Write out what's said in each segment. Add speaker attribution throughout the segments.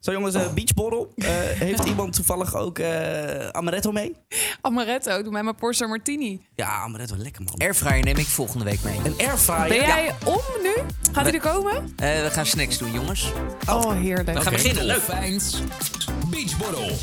Speaker 1: Zo jongens, eh, beachborrel. Eh, heeft iemand toevallig ook eh, amaretto mee?
Speaker 2: Amaretto, doe mij maar Porto Martini.
Speaker 1: Ja, amaretto, lekker man.
Speaker 3: Airfryer neem ik volgende week mee.
Speaker 1: Een airfryer.
Speaker 2: Ben
Speaker 1: Ja.
Speaker 2: jij om nu? Gaat hij er komen?
Speaker 3: Eh, we gaan snacks doen, jongens. We
Speaker 2: Oh, heerlijk.
Speaker 3: gaan beginnen, leuk.
Speaker 4: Dolfijns Beachborrel.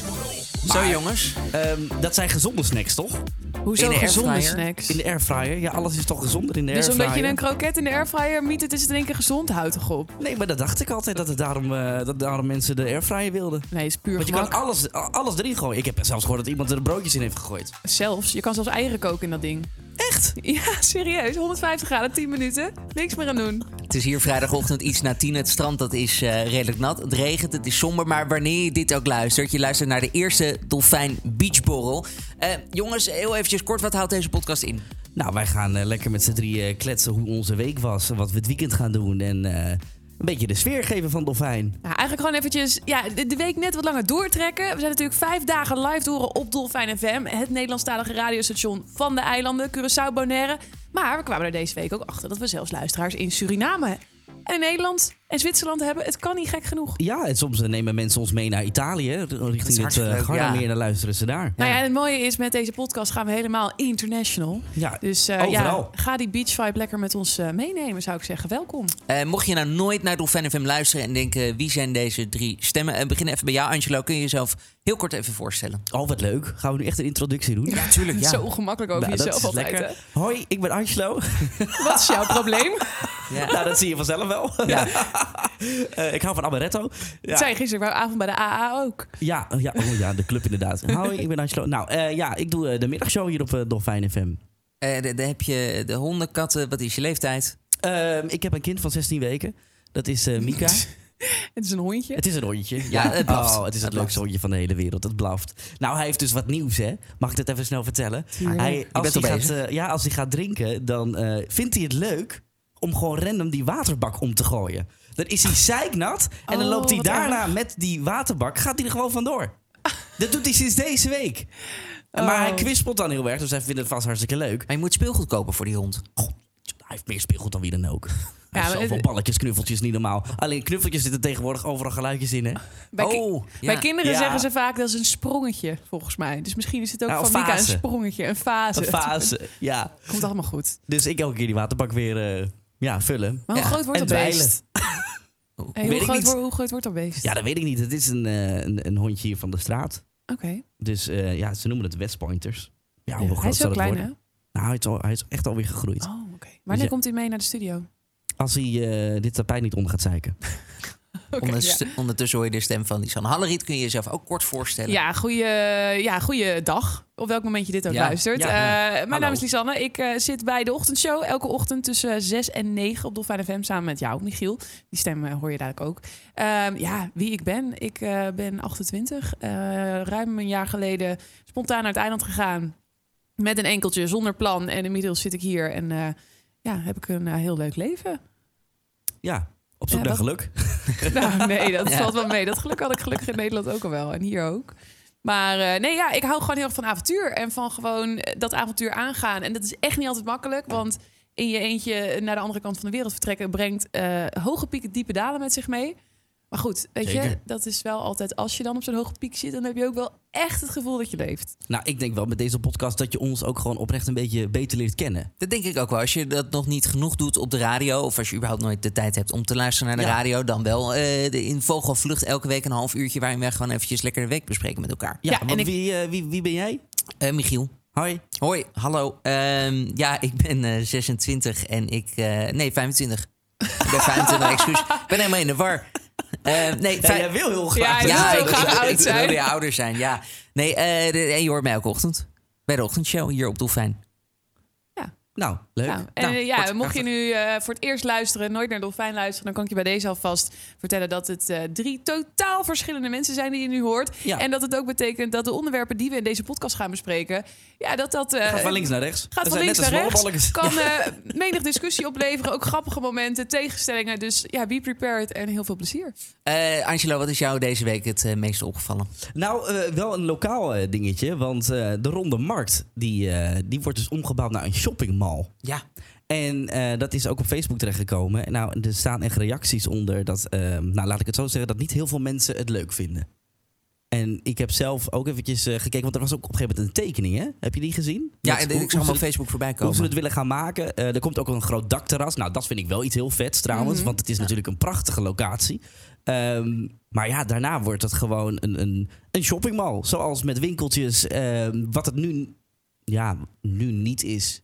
Speaker 3: Zo, jongens.
Speaker 1: Ehm, dat zijn gezonde snacks, toch?
Speaker 2: Hoezo
Speaker 3: in de
Speaker 2: gezonde
Speaker 3: airfryer?
Speaker 2: snacks?
Speaker 1: In de airfryer. Ja, alles is toch gezonder in de
Speaker 2: Dus
Speaker 1: airfryer.
Speaker 2: omdat je een kroket in de airfryer miet, het is het in één keer gezond, houd toch op?
Speaker 1: Nee, maar dat dacht ik altijd, dat, het daarom, eh, dat daarom mensen de airfryer wilden.
Speaker 2: Nee, is puur
Speaker 1: Want je kan
Speaker 2: gemak.
Speaker 1: alles, a- alles erin gooien. Ik heb zelfs gehoord dat iemand er broodjes in heeft gegooid.
Speaker 2: Zelfs, je kan zelfs eieren koken in dat ding. Echt? Ja, serieus. 150 graden, 10 minuten. Niks meer aan doen.
Speaker 3: Het is hier vrijdagochtend iets na tien. Het strand dat is eh, redelijk nat. Het regent, het is somber. Maar wanneer je dit ook luistert, je luistert naar de eerste Dolfijn Beachborrel. Eh, jongens, heel eventjes kort, wat houdt deze podcast in?
Speaker 1: Nou, wij gaan eh, lekker met z'n drie eh, kletsen hoe onze week was. en Wat we het weekend gaan doen. En eh, een beetje de sfeer geven van Dolfijn.
Speaker 2: Nou, eigenlijk gewoon eventjes ja, de de week net wat langer doortrekken. We zijn natuurlijk vijf dagen live te horen op Dolfijn FM. Het Nederlandstalige radiostation van de eilanden, Curaçao, Bonaire. Maar we kwamen er deze week ook achter dat we zelfs luisteraars in Suriname... en in Nederland en Zwitserland hebben. Het kan niet gek genoeg.
Speaker 1: Ja, en soms eh, nemen mensen ons mee naar Italië. r- Richting het
Speaker 3: hartstikke
Speaker 1: eh,
Speaker 3: leuk,
Speaker 1: Gardameer.
Speaker 3: ja.
Speaker 1: En dan luisteren ze daar.
Speaker 2: Nou ja, en het mooie is, met deze podcast gaan we helemaal international.
Speaker 1: Ja,
Speaker 2: Dus eh, ja,
Speaker 1: Overal.
Speaker 2: ga die beach vibe lekker met ons eh, meenemen, zou ik zeggen. Welkom.
Speaker 3: Eh, mocht je nou nooit naar Dolfijn FM luisteren en denken... wie zijn deze drie stemmen? Eh, We beginnen even bij jou, Angelo. Kun je jezelf heel kort even voorstellen?
Speaker 1: Oh, wat leuk. Gaan we nu echt een introductie doen? Nou, Ja, Nou, tuurlijk.
Speaker 2: Zo ongemakkelijk over jezelf altijd. hè?
Speaker 1: Hoi, ik ben Angelo.
Speaker 2: Wat is jouw probleem?
Speaker 3: Ja.
Speaker 1: nou, dat zie je vanzelf wel.
Speaker 3: Ja.
Speaker 1: Eh, ik hou van amaretto. Ja.
Speaker 2: Dat zei je gisteravond bij de AA ook.
Speaker 1: Ja, oh ja, oh ja, de club inderdaad. Hoi, ik ben Angelo. Nou, eh, ja, ik doe eh, de middagshow hier op eh, Dolfijn FM.
Speaker 3: Eh, d- dan heb je de honden, katten. Wat is je leeftijd?
Speaker 1: Ehm, ik heb een kind van 16 weken. Dat is eh, Mika.
Speaker 2: Het is een hondje.
Speaker 1: het is een hondje.
Speaker 3: Ja, het blaft.
Speaker 1: Oh, het is het,
Speaker 3: Het blaft.
Speaker 1: leukste hondje van de hele wereld. Het blaft. Nou, hij heeft dus wat nieuws, hè? Mag ik dat even snel vertellen?
Speaker 2: Tuurlijk.
Speaker 1: Hij, als,
Speaker 3: bent
Speaker 1: hij
Speaker 3: al
Speaker 1: gaat, eh, ja, als hij gaat drinken, dan eh, vindt hij het leuk om gewoon random die waterbak om te gooien. Dan is hij zeiknat en dan
Speaker 2: Oh,
Speaker 1: loopt hij
Speaker 2: wat
Speaker 1: daarna met die waterbak, gaat hij er gewoon vandoor. Dat doet hij sinds deze week. Maar hij
Speaker 2: Oh.
Speaker 1: kwispelt dan heel erg, dus hij vindt het vast hartstikke leuk.
Speaker 3: Maar je moet speelgoed kopen voor die hond.
Speaker 1: Goh, hij heeft meer speelgoed dan wie dan ook. Hij heeft
Speaker 2: maar
Speaker 1: zoveel
Speaker 2: het-
Speaker 1: balletjes, knuffeltjes, niet normaal. Alleen knuffeltjes zitten tegenwoordig overal geluidjes in, hè?
Speaker 2: Bij, ki-
Speaker 3: Oh, ja.
Speaker 2: bij kinderen
Speaker 1: Ja.
Speaker 2: zeggen ze vaak dat is een sprongetje, volgens mij. Dus misschien is het ook
Speaker 1: Ja, Nou, een
Speaker 2: van Mika een
Speaker 1: fase.
Speaker 2: sprongetje, een fase.
Speaker 1: Een fase, ja.
Speaker 2: Komt allemaal goed.
Speaker 1: Dus ik elke keer die waterbak weer eh, ja, vullen.
Speaker 2: Maar hoe
Speaker 3: Ja,
Speaker 2: groot wordt
Speaker 1: en
Speaker 2: dat beest? Hey,
Speaker 3: Weet
Speaker 2: hoe,
Speaker 3: ik
Speaker 2: groot,
Speaker 3: niet.
Speaker 2: wordt- hoe groot wordt dat beest?
Speaker 1: Ja, dat weet ik niet. Het is een, eh, een, een hondje hier van de straat.
Speaker 2: Oké.
Speaker 1: Dus eh, ja, ze noemen het Westpointers. Ja, hoe groot
Speaker 2: Hij is
Speaker 1: zal
Speaker 2: zo
Speaker 1: het
Speaker 2: klein, hè?
Speaker 1: worden? Nou, hij is, al- hij is echt alweer gegroeid.
Speaker 2: Oh, oké. Wanneer
Speaker 1: ja.
Speaker 2: komt hij mee naar de studio?
Speaker 1: Als hij eh, dit tapijt niet om gaat zeiken.
Speaker 2: Oké, ja.
Speaker 3: Onders- Ondertussen hoor je de stem van Lisanne Halleriet. Kun je jezelf ook kort voorstellen?
Speaker 2: Ja, goeie, ja, goeie dag. Op welk moment je dit ook
Speaker 3: Ja,
Speaker 2: luistert.
Speaker 1: ja,
Speaker 2: Eh,
Speaker 1: ja.
Speaker 2: mijn
Speaker 1: Hallo.
Speaker 2: naam is Lisanne. Ik eh, zit bij de ochtendshow elke ochtend tussen 6 en 9 op Dolfijn FM samen met jou, Michiel. Die stem eh, hoor je dadelijk ook. Ehm, ja, wie ik ben. Ik eh, ben 28. eh, ruim een jaar geleden spontaan naar het eiland gegaan. Met een enkeltje, zonder plan. En inmiddels zit ik hier en eh, ja, heb ik een eh, heel leuk leven.
Speaker 1: Ja, op zoek
Speaker 2: Ja,
Speaker 1: naar
Speaker 2: wat-
Speaker 1: geluk.
Speaker 2: Nou, nee, dat
Speaker 3: Ja.
Speaker 2: valt wel mee. Dat geluk had ik gelukkig in Nederland ook al wel. En hier ook. Maar eh, nee, ja, ik hou gewoon heel erg van avontuur. En van gewoon eh, dat avontuur aangaan. En dat is echt niet altijd makkelijk. Want in je eentje naar de andere kant van de wereld vertrekken... brengt eh, hoge pieken, diepe dalen met zich mee. Maar goed, weet je,
Speaker 1: Zeker.
Speaker 2: dat is wel altijd... als je dan op zo'n hoge piek zit... dan heb je ook wel echt het gevoel dat je leeft.
Speaker 1: Nou, ik denk wel met deze podcast dat je ons ook gewoon oprecht een beetje beter leert kennen.
Speaker 3: Dat denk ik ook wel. Als je dat nog niet genoeg doet op de radio... of als je überhaupt nooit de tijd hebt om te luisteren naar de
Speaker 1: Ja.
Speaker 3: radio... dan wel eh, de- in Vogelvlucht elke week een half uurtje... waarin wij gewoon eventjes lekker de week bespreken met elkaar.
Speaker 1: Ja,
Speaker 2: Ja,
Speaker 1: want
Speaker 2: en ik-
Speaker 1: wie, eh, wie, wie ben jij?
Speaker 3: Eh, Michiel.
Speaker 1: Hoi.
Speaker 3: Hoi, hallo. Ehm, ja, ik ben eh, 26 en ik... eh, nee, 25. Ik ben 25, excuus. Ik ben helemaal in de war. Eh, nee,
Speaker 1: Ja,
Speaker 3: vij-
Speaker 1: jij wil heel
Speaker 2: Ja,
Speaker 1: graag.
Speaker 2: hij wil
Speaker 3: ik-
Speaker 2: zo graag
Speaker 3: ik-
Speaker 2: oud
Speaker 3: ik
Speaker 2: zijn.
Speaker 3: wilde ja, ouder zijn, ja. Nee, eh, de- en je hoort mij elke ochtend. Bij de ochtendshow hier op Dolfijn.
Speaker 1: Nou, leuk.
Speaker 2: Nou, en
Speaker 3: Nou,
Speaker 2: eh, ja,
Speaker 3: kort,
Speaker 2: mocht je nu eh, voor het eerst luisteren, nooit naar Dolfijn luisteren, dan kan ik je bij deze alvast vertellen dat het eh, drie totaal verschillende mensen zijn die je nu hoort.
Speaker 1: Ja.
Speaker 2: En dat het ook betekent dat de onderwerpen die we in deze podcast gaan bespreken, ja, dat dat. eh,
Speaker 1: Gaat van links naar rechts.
Speaker 2: gaat
Speaker 1: Dat
Speaker 2: van
Speaker 1: zijn
Speaker 2: links
Speaker 1: net
Speaker 2: naar
Speaker 1: als
Speaker 2: rechts.
Speaker 1: rollenballetjes.
Speaker 2: Kan eh, menig discussie opleveren. Ook grappige momenten, tegenstellingen. Dus ja, be prepared en heel veel plezier.
Speaker 3: Eh, Angelo, wat is jou deze week het eh, meest opgevallen?
Speaker 1: Nou, eh, wel een lokaal eh, dingetje. Want eh, de Ronde Markt, die, eh, die wordt dus omgebouwd naar een shoppingmall.
Speaker 3: Ja.
Speaker 1: En eh, dat is ook op Facebook terechtgekomen. Nou, er staan echt reacties onder dat, ehm, nou laat ik het zo zeggen, dat niet heel veel mensen het leuk vinden. En ik heb zelf ook eventjes eh, gekeken, want er was ook op een gegeven moment een tekening, hè? Heb je die gezien?
Speaker 3: Ja,
Speaker 1: Met
Speaker 3: en
Speaker 1: hoe-
Speaker 3: ik zag
Speaker 1: hoe
Speaker 3: hem op
Speaker 1: ze-
Speaker 3: Facebook voorbij
Speaker 1: hoe ze
Speaker 3: komen.
Speaker 1: het willen gaan maken. Eh, er komt ook een groot dakterras. Nou, dat vind ik wel iets heel vets trouwens.
Speaker 2: Mhm.
Speaker 1: Want het is natuurlijk een prachtige locatie. Ehm, maar ja, daarna wordt het gewoon een, een, een shoppingmall. Zoals met winkeltjes. ehm, wat het nu, ja, nu niet is.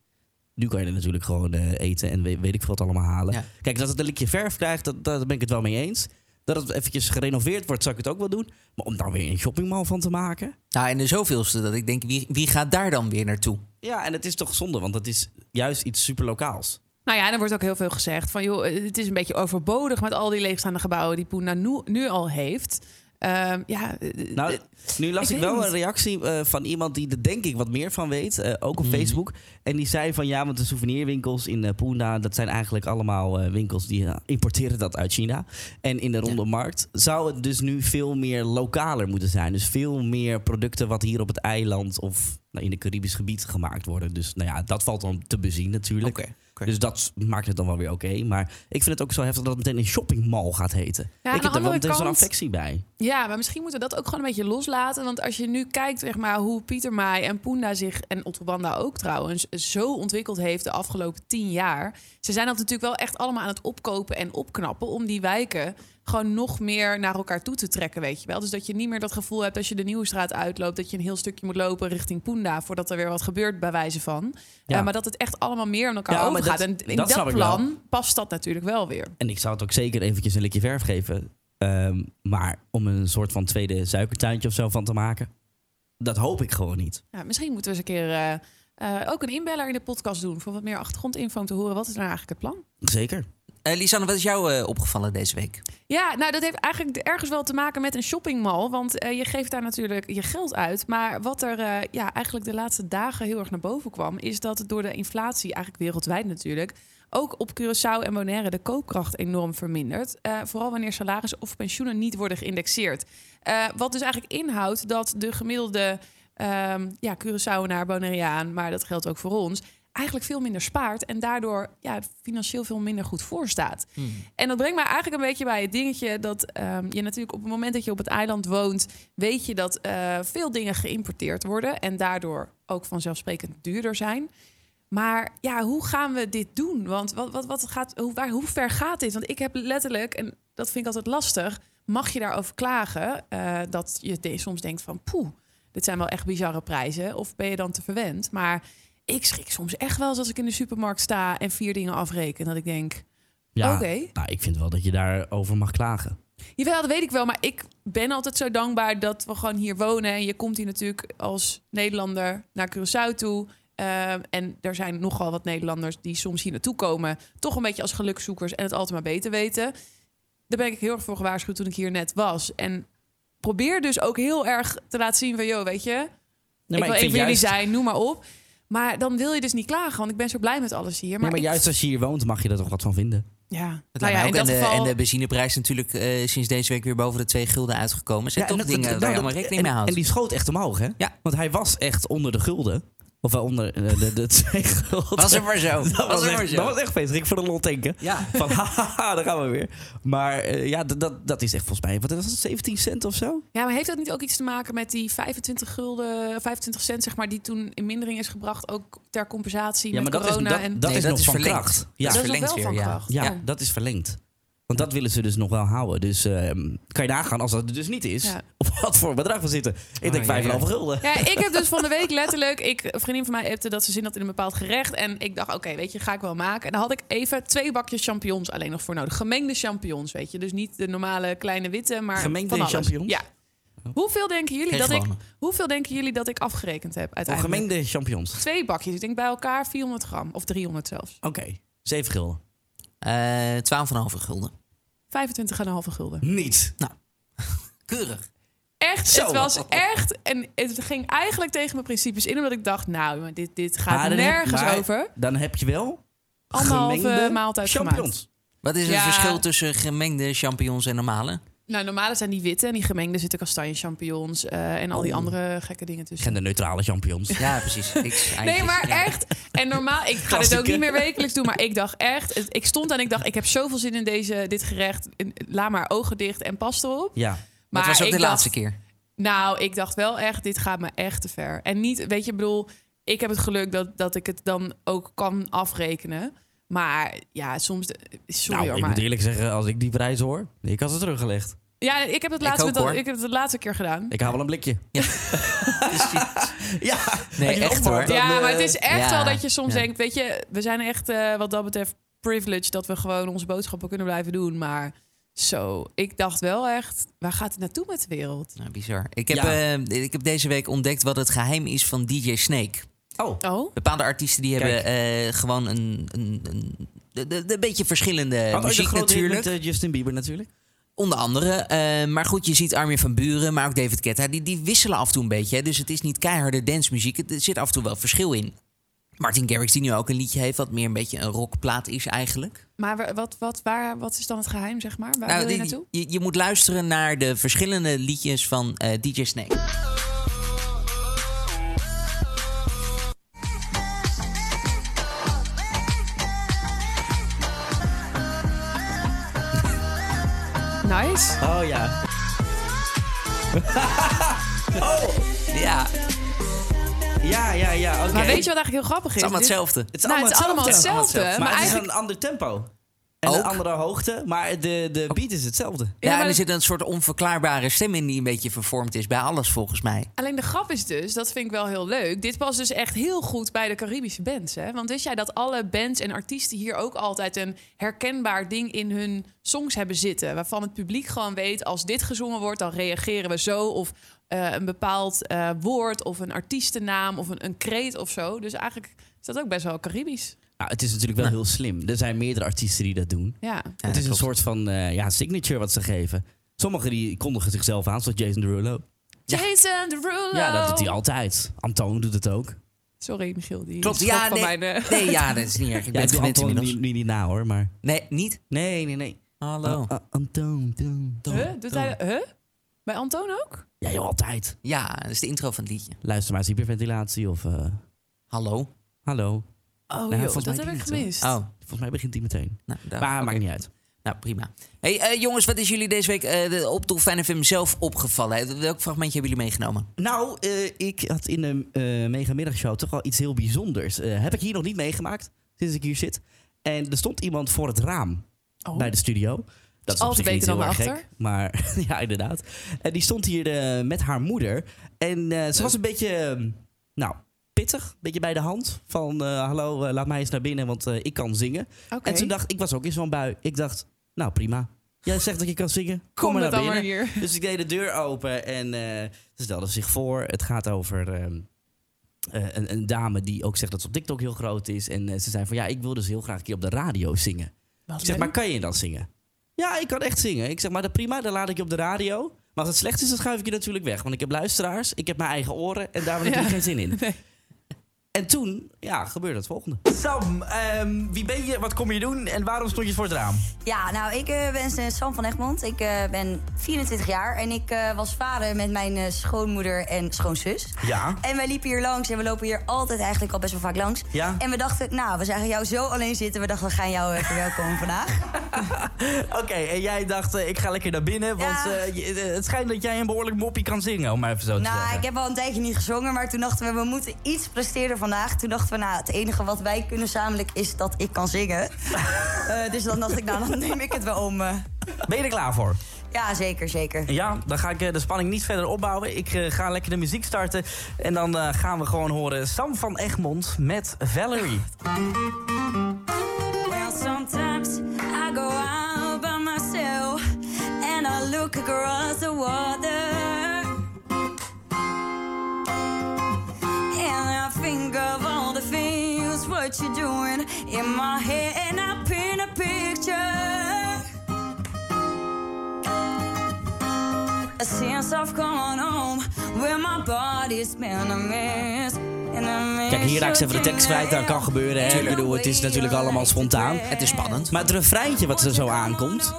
Speaker 1: Nu kan je er natuurlijk gewoon eh, eten en weet, weet ik veel wat allemaal halen.
Speaker 3: Ja.
Speaker 1: Kijk, dat het een likje verf krijgt, dat, daar ben ik het wel mee eens. Dat het eventjes gerenoveerd wordt, zou ik het ook wel doen. Maar om daar weer een shoppingmall van te maken...
Speaker 3: Nou, en de zoveelste dat ik denk, wie, wie gaat daar dan weer naartoe?
Speaker 1: Ja, en het is toch zonde, want het is juist iets superlokaals.
Speaker 2: Nou ja, en er wordt ook heel veel gezegd van... joh, eh, het is een beetje overbodig met al die leegstaande gebouwen... die Poena nu, nu al heeft. Ehm, ja, eh,
Speaker 1: Nou, nu las
Speaker 2: ik
Speaker 1: ik,
Speaker 2: weet
Speaker 1: wel
Speaker 2: het
Speaker 1: een reactie eh, van iemand die er denk ik wat meer van weet, eh, ook
Speaker 2: Mhm.
Speaker 1: op Facebook. En die zei van ja, want de souvenirwinkels in eh Poenda, dat zijn eigenlijk allemaal eh, winkels die eh, importeren dat uit China. En in de ronde markt zou het dus nu veel meer lokaler moeten zijn. Dus veel meer producten wat hier op het eiland of nou, in het Caribisch gebied gemaakt worden. Dus nou ja, dat valt dan te bezien natuurlijk.
Speaker 3: oké.
Speaker 1: Dus dat maakt het dan wel weer oké. Maar ik vind het ook zo heftig dat het meteen een shoppingmall gaat heten.
Speaker 2: aan
Speaker 1: ik
Speaker 2: de
Speaker 1: heb er wel
Speaker 2: andere
Speaker 1: meteen zo'n
Speaker 2: kant-
Speaker 1: affectie bij.
Speaker 2: Ja, maar misschien moeten we dat ook gewoon een beetje loslaten. Want als je nu kijkt zeg maar, hoe Pieter Maai en Poenda zich, en Otto Banda ook trouwens, zo ontwikkeld heeft de afgelopen tien jaar. Ze zijn dat natuurlijk wel echt allemaal aan het opkopen en opknappen. Om die wijken gewoon nog meer naar elkaar toe te trekken, weet je wel. Dus dat je niet meer dat gevoel hebt als je de Nieuwe Straat uitloopt... dat je een heel stukje moet lopen richting Poenda... voordat er weer wat gebeurt, bij wijze van.
Speaker 1: Ja.
Speaker 2: Eh, maar dat het echt allemaal meer aan elkaar
Speaker 1: Ja, maar
Speaker 2: overgaat.
Speaker 1: dat-
Speaker 2: en in
Speaker 1: dat
Speaker 2: dat,
Speaker 1: snap ik wel.
Speaker 2: plan past dat natuurlijk wel weer.
Speaker 1: En ik zou het ook zeker eventjes een likje verf geven. Ehm, maar om een soort van tweede suikertuintje of zo van te maken. Dat hoop ik gewoon niet.
Speaker 2: Ja, Nou, misschien moeten we eens een keer eh, eh, ook een inbeller in de podcast doen. Voor wat meer achtergrondinfo om te horen. Wat is nou eigenlijk het plan?
Speaker 1: Zeker.
Speaker 3: Eh, Lisanne, wat is jou eh, opgevallen deze week?
Speaker 2: Ja, nou dat heeft eigenlijk ergens wel te maken met een shoppingmall. Want eh, je geeft daar natuurlijk je geld uit. Maar wat er eh, ja, eigenlijk de laatste dagen heel erg naar boven kwam... is dat het door de inflatie, eigenlijk wereldwijd natuurlijk... ook op Curaçao en Bonaire de koopkracht enorm vermindert. Eh, vooral wanneer salarissen of pensioenen niet worden geïndexeerd. Eh, wat dus eigenlijk inhoudt dat de gemiddelde ehm ja, Curaçaoenaar, Bonaireaan... maar dat geldt ook voor ons eigenlijk veel minder spaart en daardoor ja, financieel veel minder goed voor staat.
Speaker 1: Hmm.
Speaker 2: En dat brengt mij eigenlijk een beetje bij het dingetje dat ehm, je natuurlijk op het moment dat je op het eiland woont, weet je dat eh, veel dingen geïmporteerd worden en daardoor ook vanzelfsprekend duurder zijn. Maar ja, hoe gaan we dit doen? Want wat, wat, wat gaat, hoe, waar, hoe ver gaat dit? Want ik heb letterlijk, en dat vind ik altijd lastig, mag je daarover klagen eh, dat je de- soms denkt van poeh, dit zijn wel echt bizarre prijzen. Of ben je dan te verwend? Maar ik schrik soms echt wel eens als ik in de supermarkt sta en vier dingen afreken. Dat ik denk,
Speaker 1: Ja,
Speaker 2: Oké.
Speaker 1: nou, ik vind wel dat je daarover mag klagen.
Speaker 2: Jawel, dat weet ik wel. Maar ik ben altijd zo dankbaar dat we gewoon hier wonen. En je komt hier natuurlijk als Nederlander naar Curaçao toe. Ehm, en er zijn nogal wat Nederlanders die soms hier naartoe komen. Toch een beetje als gelukzoekers en het altijd maar beter weten. Daar ben ik heel erg voor gewaarschuwd toen ik hier net was. En probeer dus ook heel erg te laten zien van... joh, weet je,
Speaker 1: Nee,
Speaker 2: ik
Speaker 1: vind
Speaker 2: wil even jullie
Speaker 1: juist-
Speaker 2: zijn, noem maar op. Maar dan wil je dus niet klagen, want ik ben zo blij met alles hier.
Speaker 1: Nee, maar
Speaker 2: ik-
Speaker 1: juist als je hier woont mag je er toch wat van vinden.
Speaker 2: Ja,
Speaker 3: Het
Speaker 2: nou
Speaker 3: lijkt
Speaker 2: ja,
Speaker 3: mij
Speaker 2: in
Speaker 3: ook.
Speaker 2: dat
Speaker 3: en, de,
Speaker 2: geval...
Speaker 3: en de benzineprijs natuurlijk eh, sinds deze week weer boven de 2 gulden uitgekomen. Zijn
Speaker 1: en
Speaker 3: toch
Speaker 1: dat-
Speaker 3: dingen
Speaker 1: dat- nou,
Speaker 3: waar je
Speaker 1: dat-
Speaker 3: allemaal rekening
Speaker 1: en-
Speaker 3: mee houdt.
Speaker 1: En die schoot echt omhoog, hè?
Speaker 3: Ja.
Speaker 1: Want hij was echt onder de gulden. Of wel onder eh, de, de twee gulden.
Speaker 3: was er maar zo.
Speaker 1: Dat was,
Speaker 3: er maar
Speaker 1: echt, dat was
Speaker 3: zo.
Speaker 1: echt feest. Ik voor de lol tanken.
Speaker 3: Ja.
Speaker 1: Van haha, daar gaan we weer. Maar eh, ja, dat- dat, dat is echt volgens mij... Wat was het, 17 cent of zo?
Speaker 2: Ja, maar heeft dat niet ook iets te maken met die 25 gulden, 25 cent, zeg maar, die toen in mindering is gebracht, ook ter compensatie met
Speaker 1: dat
Speaker 2: corona?
Speaker 1: is, dat,
Speaker 2: en
Speaker 1: dat
Speaker 3: Nee,
Speaker 1: is
Speaker 3: dat
Speaker 1: nog
Speaker 3: is
Speaker 1: van
Speaker 3: verlengd.
Speaker 1: kracht.
Speaker 3: Ja,
Speaker 1: Ja.
Speaker 2: dat is
Speaker 3: is
Speaker 2: nog
Speaker 3: verlengd
Speaker 2: wel van
Speaker 3: weer, ja.
Speaker 2: kracht.
Speaker 1: Ja,
Speaker 2: Ja.
Speaker 1: dat is verlengd. Want dat willen ze dus nog wel houden. Dus ehm, kan je nagaan als dat er dus niet is.
Speaker 2: Ja.
Speaker 1: Op wat voor bedrag we zitten. Ik
Speaker 3: Oh,
Speaker 1: denk 5,5
Speaker 3: ja, ja.
Speaker 1: gulden.
Speaker 2: Ja, ik heb dus van de week letterlijk, ik, een vriendin van mij appte dat ze zin had in een bepaald gerecht. En ik dacht, oké, weet je, ga ik wel maken. En daar had ik even twee bakjes champignons alleen nog voor nodig. Gemengde champignons, weet je. Dus niet de normale kleine witte, maar
Speaker 1: Gemengde
Speaker 2: van alles.
Speaker 1: champignons? Oh.
Speaker 2: Ja. Hoeveel denken, jullie
Speaker 3: Geen
Speaker 2: dat ik,
Speaker 3: gewone.
Speaker 2: hoeveel denken jullie dat ik afgerekend heb
Speaker 1: Voor
Speaker 2: uiteindelijk?
Speaker 1: gemengde champignons.
Speaker 2: Twee bakjes, ik denk bij elkaar 400 gram. Of 300 zelfs.
Speaker 1: Oké, 7 gulden.
Speaker 3: Eh 12,5 gulden.
Speaker 2: 25,5 gulden.
Speaker 1: Niet.
Speaker 3: Keurig.
Speaker 2: Echt,
Speaker 1: Zo.
Speaker 2: het was echt. En het ging eigenlijk tegen mijn principes in, omdat ik dacht, nou, maar dit, dit gaat
Speaker 1: Maar dan heb-
Speaker 2: nergens
Speaker 1: maar
Speaker 2: over.
Speaker 1: Dan heb je wel
Speaker 2: Anderhalve
Speaker 1: gemengde
Speaker 2: maaltijd
Speaker 1: champignons.
Speaker 3: Wat is het
Speaker 2: Ja.
Speaker 3: verschil tussen gemengde champignons en normale?
Speaker 2: gemaakt. Nou, normale zijn die witte en die gemengde zitten kastanje champignons eh, en al die andere gekke dingen tussen.
Speaker 1: Genderneutrale champignons.
Speaker 3: Ja, precies. Niks,
Speaker 2: Nee,
Speaker 3: eigenlijk.
Speaker 2: maar
Speaker 3: Ja.
Speaker 2: echt. En normaal, ik ga dit ook
Speaker 1: Klassieke.
Speaker 2: niet meer wekelijks doen, maar ik dacht echt, het- ik stond en ik dacht, ik heb zoveel zin in deze, dit gerecht. En Laat maar ogen dicht en pas erop.
Speaker 1: Ja.
Speaker 2: Maar
Speaker 3: dat was ook
Speaker 2: ik
Speaker 3: de
Speaker 2: dacht-
Speaker 3: laatste keer.
Speaker 2: Nou, ik dacht wel echt, dit gaat me echt te ver. En niet, weet je, ik bedoel, ik heb het geluk dat, dat ik het dan ook kan afrekenen. Maar ja, soms, de- sorry
Speaker 1: nou,
Speaker 2: hoor,
Speaker 1: ik
Speaker 2: maar...
Speaker 1: moet eerlijk zeggen, als ik die prijs hoor, ik had ze teruggelegd.
Speaker 2: Ja, ik heb het
Speaker 3: Ik
Speaker 2: laatste,
Speaker 3: ook,
Speaker 2: dat-
Speaker 3: hoor.
Speaker 2: ik heb het de laatste keer gedaan.
Speaker 1: Ik haal wel een blikje. Ja.
Speaker 3: Nee,
Speaker 1: Als je
Speaker 3: echt
Speaker 1: opmaakt,
Speaker 3: hoor.
Speaker 1: dan,
Speaker 2: ja,
Speaker 1: eh,
Speaker 2: maar het is echt
Speaker 3: ja,
Speaker 2: wel dat je soms
Speaker 3: ja.
Speaker 2: denkt, weet je, we zijn echt eh, wat dat betreft privileged dat we gewoon onze boodschappen kunnen blijven doen. Maar zo, ik dacht wel echt, waar gaat het naartoe met de wereld?
Speaker 3: Nou, bizar. Ik heb,
Speaker 1: Ja.
Speaker 3: eh, ik heb deze week ontdekt wat het geheim is van DJ Snake.
Speaker 1: Oh,
Speaker 2: Oh,
Speaker 3: Bepaalde artiesten die hebben eh, gewoon een, een, een, de- de- de- een beetje
Speaker 2: Oh,
Speaker 3: verschillende
Speaker 1: Had ook een
Speaker 3: muziek
Speaker 1: grote hit
Speaker 3: natuurlijk.
Speaker 1: Met eh, Justin Bieber natuurlijk.
Speaker 3: Onder andere. eh, maar goed, je ziet Armin van Buren, maar ook David Ketta. Die, die wisselen af en toe een beetje. Hè. Dus het is niet keiharde dancemuziek. Het- Er zit af en toe wel verschil in. Martin Garrix, die nu ook een liedje heeft, wat meer een beetje een rockplaat is eigenlijk.
Speaker 2: maar wa- wat, wat, waar, wat is dan het geheim, zeg maar? Waar wil je
Speaker 3: Nou, die-
Speaker 2: naartoe?
Speaker 3: je, je moet luisteren naar de verschillende liedjes van eh, DJ Snake.
Speaker 2: Nice.
Speaker 1: Oh ja.
Speaker 3: Ja, het
Speaker 1: Oh, Ja, ja, ja. oké.
Speaker 2: Maar weet je wat eigenlijk heel grappig is?
Speaker 3: is allemaal
Speaker 2: Dit-
Speaker 3: hetzelfde.
Speaker 1: Het
Speaker 2: Nou, het is allemaal hetzelfde.
Speaker 1: Maar,
Speaker 2: Maar
Speaker 1: het
Speaker 2: eigenlijk-
Speaker 1: is een ander tempo. En
Speaker 3: Ook.
Speaker 1: een andere hoogte, maar de, de beat is hetzelfde.
Speaker 2: Ja,
Speaker 3: Ja,
Speaker 2: maar
Speaker 3: en er
Speaker 2: dat-
Speaker 3: zit een soort onverklaarbare stem in die een beetje vervormd is bij alles volgens mij.
Speaker 2: Alleen de grap is dus, dat vind ik wel heel leuk. Dit past dus echt heel goed bij de Caribische bands. Hè? Want wist jij dat alle bands en artiesten hier ook altijd een herkenbaar ding in hun songs hebben zitten? Waarvan het publiek gewoon weet, als dit gezongen wordt, dan reageren we zo. Of eh, een bepaald eh, woord, of een artiestennaam, of een, een kreet of zo. Dus eigenlijk is dat ook best wel Caribisch.
Speaker 1: Nou, het is natuurlijk wel heel slim. Er zijn meerdere artiesten die dat doen.
Speaker 2: Ja.
Speaker 1: het is een
Speaker 3: klopt.
Speaker 1: soort van eh, ja, signature wat ze geven. Sommigen die kondigen zichzelf aan, zoals Jason Derulo. Ja.
Speaker 2: Jason Derulo!
Speaker 1: Ja, dat doet hij altijd. Antoon doet het ook.
Speaker 2: Sorry Michiel, die
Speaker 3: Klopt,
Speaker 2: schrok
Speaker 3: ja,
Speaker 2: van
Speaker 3: nee,
Speaker 2: mijn... eh,
Speaker 3: Nee, ja, dat is niet erg. Ik
Speaker 1: Ja, ik
Speaker 3: ben het
Speaker 1: doe
Speaker 3: gewend
Speaker 1: Antoon
Speaker 3: inmiddels. Oh.
Speaker 1: nu, nu niet na hoor, maar...
Speaker 3: Nee, niet?
Speaker 1: Nee, nee, nee.
Speaker 2: Oh.
Speaker 3: Hallo.
Speaker 1: Ah, ah, Antoon, Toon, Toon,
Speaker 2: huh? Doet hij, huh? Bij Antoon ook?
Speaker 1: Ja joh, altijd.
Speaker 3: Ja, dat is de intro van het liedje.
Speaker 1: Luister maar eens hyperventilatie of... eh,
Speaker 3: Hallo.
Speaker 1: hallo.
Speaker 2: Oh
Speaker 1: hij
Speaker 2: joh,
Speaker 1: volgens mij
Speaker 2: dat
Speaker 1: doet
Speaker 2: heb ik
Speaker 1: het wel.
Speaker 2: gemist.
Speaker 3: Oh,
Speaker 1: Volgens mij begint die meteen.
Speaker 3: nou, daar-
Speaker 1: maar
Speaker 3: oké.
Speaker 1: maakt niet uit.
Speaker 3: Nou, prima. hey, eh, jongens, wat is jullie deze week eh, de- op Dolfijn FM zelf opgevallen? hè? Welk fragmentje hebben jullie meegenomen?
Speaker 1: Nou, eh, ik had in de eh megamiddagshow toch wel iets heel bijzonders. Eh, heb ik hier nog niet meegemaakt, sinds ik hier zit. En er stond iemand voor het raam
Speaker 2: Oh.
Speaker 1: bij de studio. Dat is op
Speaker 2: Altijd
Speaker 1: zich niet
Speaker 2: beter dan
Speaker 1: heel erg
Speaker 2: erachter.
Speaker 1: gek, maar ja, inderdaad. En die stond hier eh, met haar moeder. En eh, ze was een beetje, eh, nou, pittig. Een beetje bij de hand. Van, eh, hallo, eh, laat mij eens naar binnen, want eh, ik kan zingen.
Speaker 2: Oké.
Speaker 1: En toen dacht ik, was ook in zo'n bui. Ik dacht, nou prima. Jij zegt dat je kan zingen. Kom,
Speaker 2: Kom
Speaker 1: maar
Speaker 2: het
Speaker 1: naar
Speaker 2: dan
Speaker 1: binnen.
Speaker 2: maar hier.
Speaker 1: Dus ik deed de deur open en eh, ze stelde zich voor. Het gaat over ehm, eh, een, een dame die ook zegt dat ze op TikTok heel groot is. En eh, ze zei van ja, ik wil dus heel graag een keer op de radio zingen. Ik zeg, maar kan je dan zingen? Ja, ik kan echt zingen. Ik zeg, maar dat prima, dan laat ik je op de radio. Maar als het slecht is, dan schuif ik je natuurlijk weg. Want ik heb luisteraars, ik heb mijn eigen oren en daar heb ik natuurlijk geen zin in. En toen, ja, gebeurde het volgende. Sam, ehm, wie ben je, wat kom je doen en waarom stond je voor het raam?
Speaker 5: Ja, nou, ik eh, ben eh, Sam van Egmond. Ik eh, ben 24 jaar en ik eh, was vader met mijn eh, schoonmoeder en schoonzus.
Speaker 1: Ja.
Speaker 5: En wij liepen hier langs en we lopen hier altijd eigenlijk al best wel vaak langs.
Speaker 1: Ja.
Speaker 5: En we dachten, nou, we zagen jou zo alleen zitten. We dachten, we gaan jou eh, verwelkomen vandaag.
Speaker 1: Oké, en jij dacht, eh, ik ga lekker naar binnen, want
Speaker 5: Ja.
Speaker 1: eh, je- eh, het schijnt dat jij een behoorlijk moppie kan zingen, om maar even zo te
Speaker 5: nou,
Speaker 1: zeggen.
Speaker 5: ik heb al een tijdje niet gezongen, maar toen dachten we, we moeten iets presteren vandaag. Toen dachten we, nou, het enige wat wij kunnen gezamenlijk is dat ik kan zingen. Eh, dus dan dacht ik, nou, dan neem ik het wel om. eh.
Speaker 1: Ben je er klaar voor?
Speaker 5: Ja, zeker, zeker.
Speaker 1: Ja, dan ga ik eh, de spanning niet verder opbouwen. Ik eh, ga lekker de muziek starten en dan eh, gaan we gewoon horen Sam van Egmond met Valerie.
Speaker 5: Well, sometimes I go out by myself and I look across the water. And I think of all the things what you're doing in my head, and I paint a picture. Since I've gone home, where my body's been a mess. and I miss
Speaker 1: Kijk, hier raak ik ze
Speaker 5: you
Speaker 1: even de tekst kwijt. Dat kan gebeuren, hè. Ik bedoel, het is natuurlijk allemaal spontaan.
Speaker 5: Het is spannend.
Speaker 1: Maar het refreintje wat er zo aankomt...